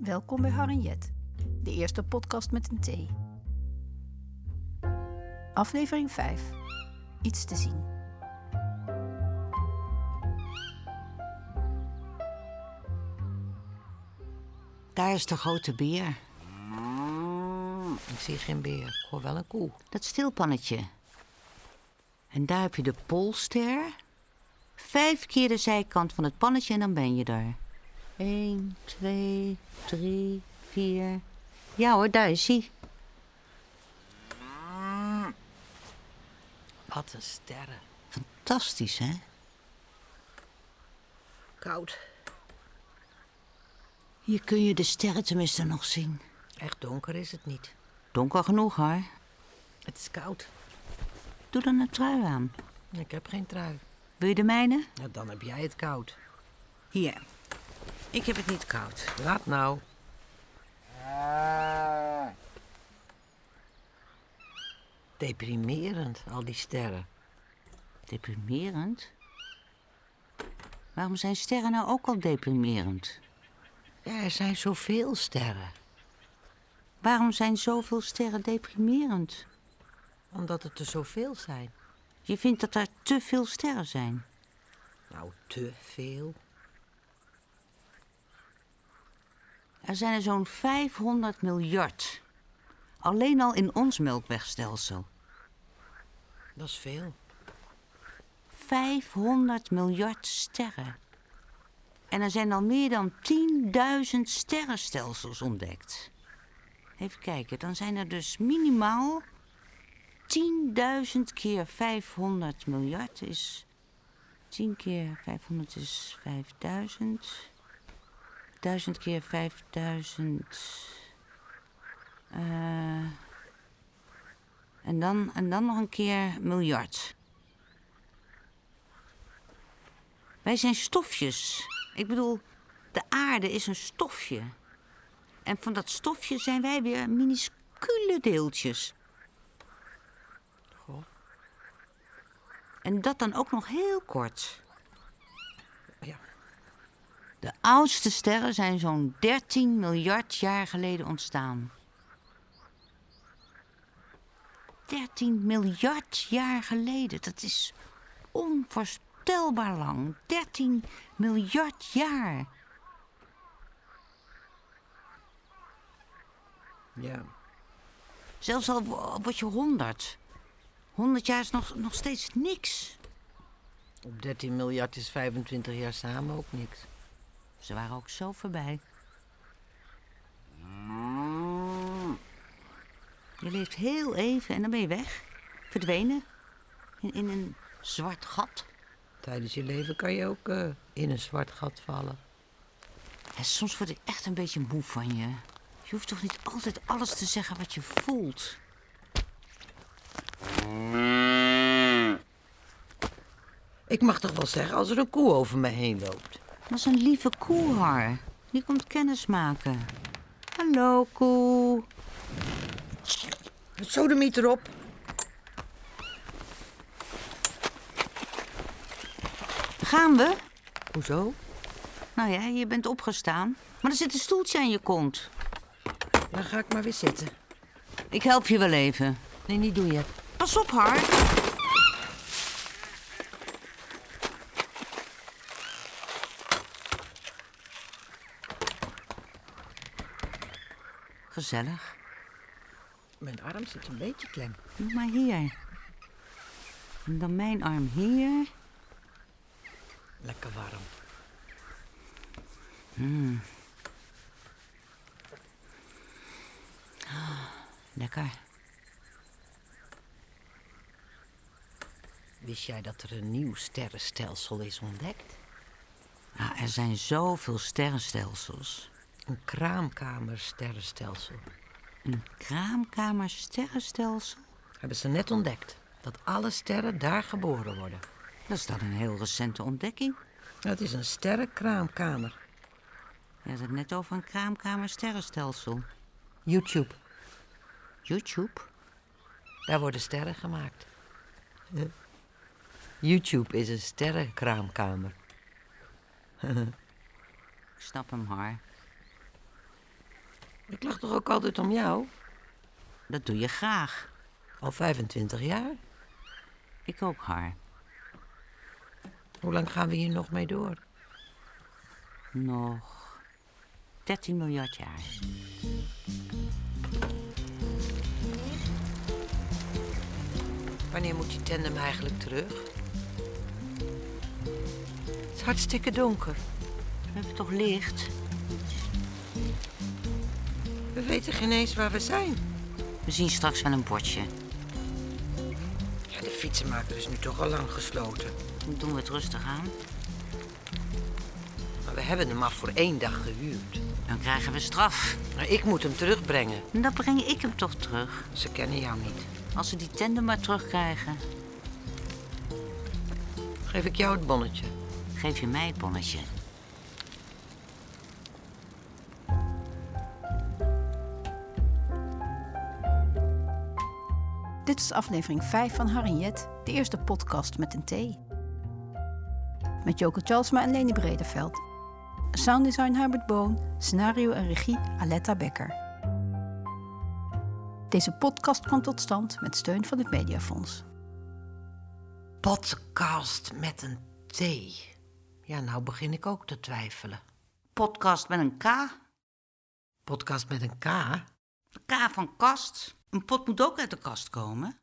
Welkom bij Harinjet, de eerste podcast met een T. Aflevering 5. Iets te zien. Daar is de grote beer. Ik zie geen beer. Ik hoor wel een koe. Dat stilpannetje. En daar heb je de polster. Vijf keer de zijkant van het pannetje en dan ben je daar. Eén, twee, drie, vier. Ja hoor, daar is hij. Wat een sterren. Fantastisch, hè? Koud. Hier kun je de sterren tenminste nog zien. Echt donker is het niet. Donker genoeg, hoor. Het is koud. Doe dan een trui aan. Ik heb geen trui. Wil je de mijne? Nou, dan heb jij het koud. Hier. Ik heb het niet koud. Laat nou. Deprimerend, al die sterren. Deprimerend? Waarom zijn sterren nou ook al deprimerend? Ja, er zijn zoveel sterren. Waarom zijn zoveel sterren deprimerend? Omdat het er zoveel zijn. Je vindt dat er te veel sterren zijn. Nou, te veel. Er zijn er zo'n 500 miljard. Alleen al in ons melkwegstelsel. Dat is veel. 500 miljard sterren. En er zijn al meer dan 10.000 sterrenstelsels ontdekt. Even kijken, dan zijn er dus minimaal 10.000 keer 500 miljard is. 10 keer 500 is 5000. 1000 keer 5000. Eh, en, dan, en dan nog een keer miljard. Wij zijn stofjes. Ik bedoel, de aarde is een stofje. En van dat stofje zijn wij weer minuscule deeltjes. Goh. En dat dan ook nog heel kort. Ja, De oudste sterren zijn zo'n 13 miljard jaar geleden ontstaan. 13 miljard jaar geleden, dat is onvoorstelbaar lang. 13 miljard jaar. ja. Zelfs al wo- word je 100. 100 jaar is nog, nog steeds niks. Op 13 miljard is 25 jaar samen ook niks. Ze waren ook zo voorbij. Je leeft heel even en dan ben je weg. Verdwenen. In, in een zwart gat. Tijdens je leven kan je ook eh, in een zwart gat vallen. En soms word ik echt een beetje moe van je. Je hoeft toch niet altijd alles te zeggen wat je voelt? Ik mag toch wel zeggen als er een koe over me heen loopt. Dat is een lieve koe, Har. Die komt kennis maken. Hallo, koe. Het sodemiet erop. Gaan we? Hoezo? Nou ja, je bent opgestaan. Maar er zit een stoeltje aan je kont. Dan ga ik maar weer zitten. Ik help je wel even. Nee, niet doen je. Pas op, Har. Gezellig. Mijn arm zit een beetje klem. Doe maar hier. En dan mijn arm hier. Lekker warm. Lekker. Wist jij dat er een nieuw sterrenstelsel is ontdekt? Ja, Nou, er zijn zoveel sterrenstelsels. Een kraamkamersterrenstelsel. Een kraamkamer sterrenstelsel? Hebben ze net ontdekt. Dat alle sterren daar geboren worden. Dat is dan een heel recente ontdekking. Het is een sterrenkraamkamer. Je had het net over een kraamkamer sterrenstelsel. YouTube. YouTube? Daar worden sterren gemaakt. YouTube is een sterrenkraamkamer. Ik snap hem, Har. Ik lach toch ook altijd om jou? Dat doe je graag. Al 25 jaar? Ik ook, Har. Hoe lang gaan we hier nog mee door? Nog 13 miljard jaar. Wanneer moet die tandem eigenlijk terug? Het is hartstikke donker. We hebben toch licht? We weten geen eens waar we zijn. We zien straks wel een bordje. Ja, de fietsenmaker is nu toch al lang gesloten. Dan doen we het rustig aan. Maar we hebben hem maar voor één dag gehuurd. Dan krijgen we straf. Maar ik moet hem terugbrengen. En dan breng ik hem toch terug. Ze kennen jou niet. Als ze die tender maar terugkrijgen, Geef ik jou het bonnetje. geef je mij het bonnetje. Dit is aflevering 5 van Harriet, de eerste podcast met een T. Met Joke Charlesma en Leni Bredeveld. Sounddesign Herbert Boon, scenario en regie Aletta Becker. Deze podcast kwam tot stand met steun van het Mediafonds. Podcast met een T. Ja, nou begin ik ook te twijfelen. Podcast met een K. Podcast met een K? De K van kast. Een pot moet ook uit de kast komen.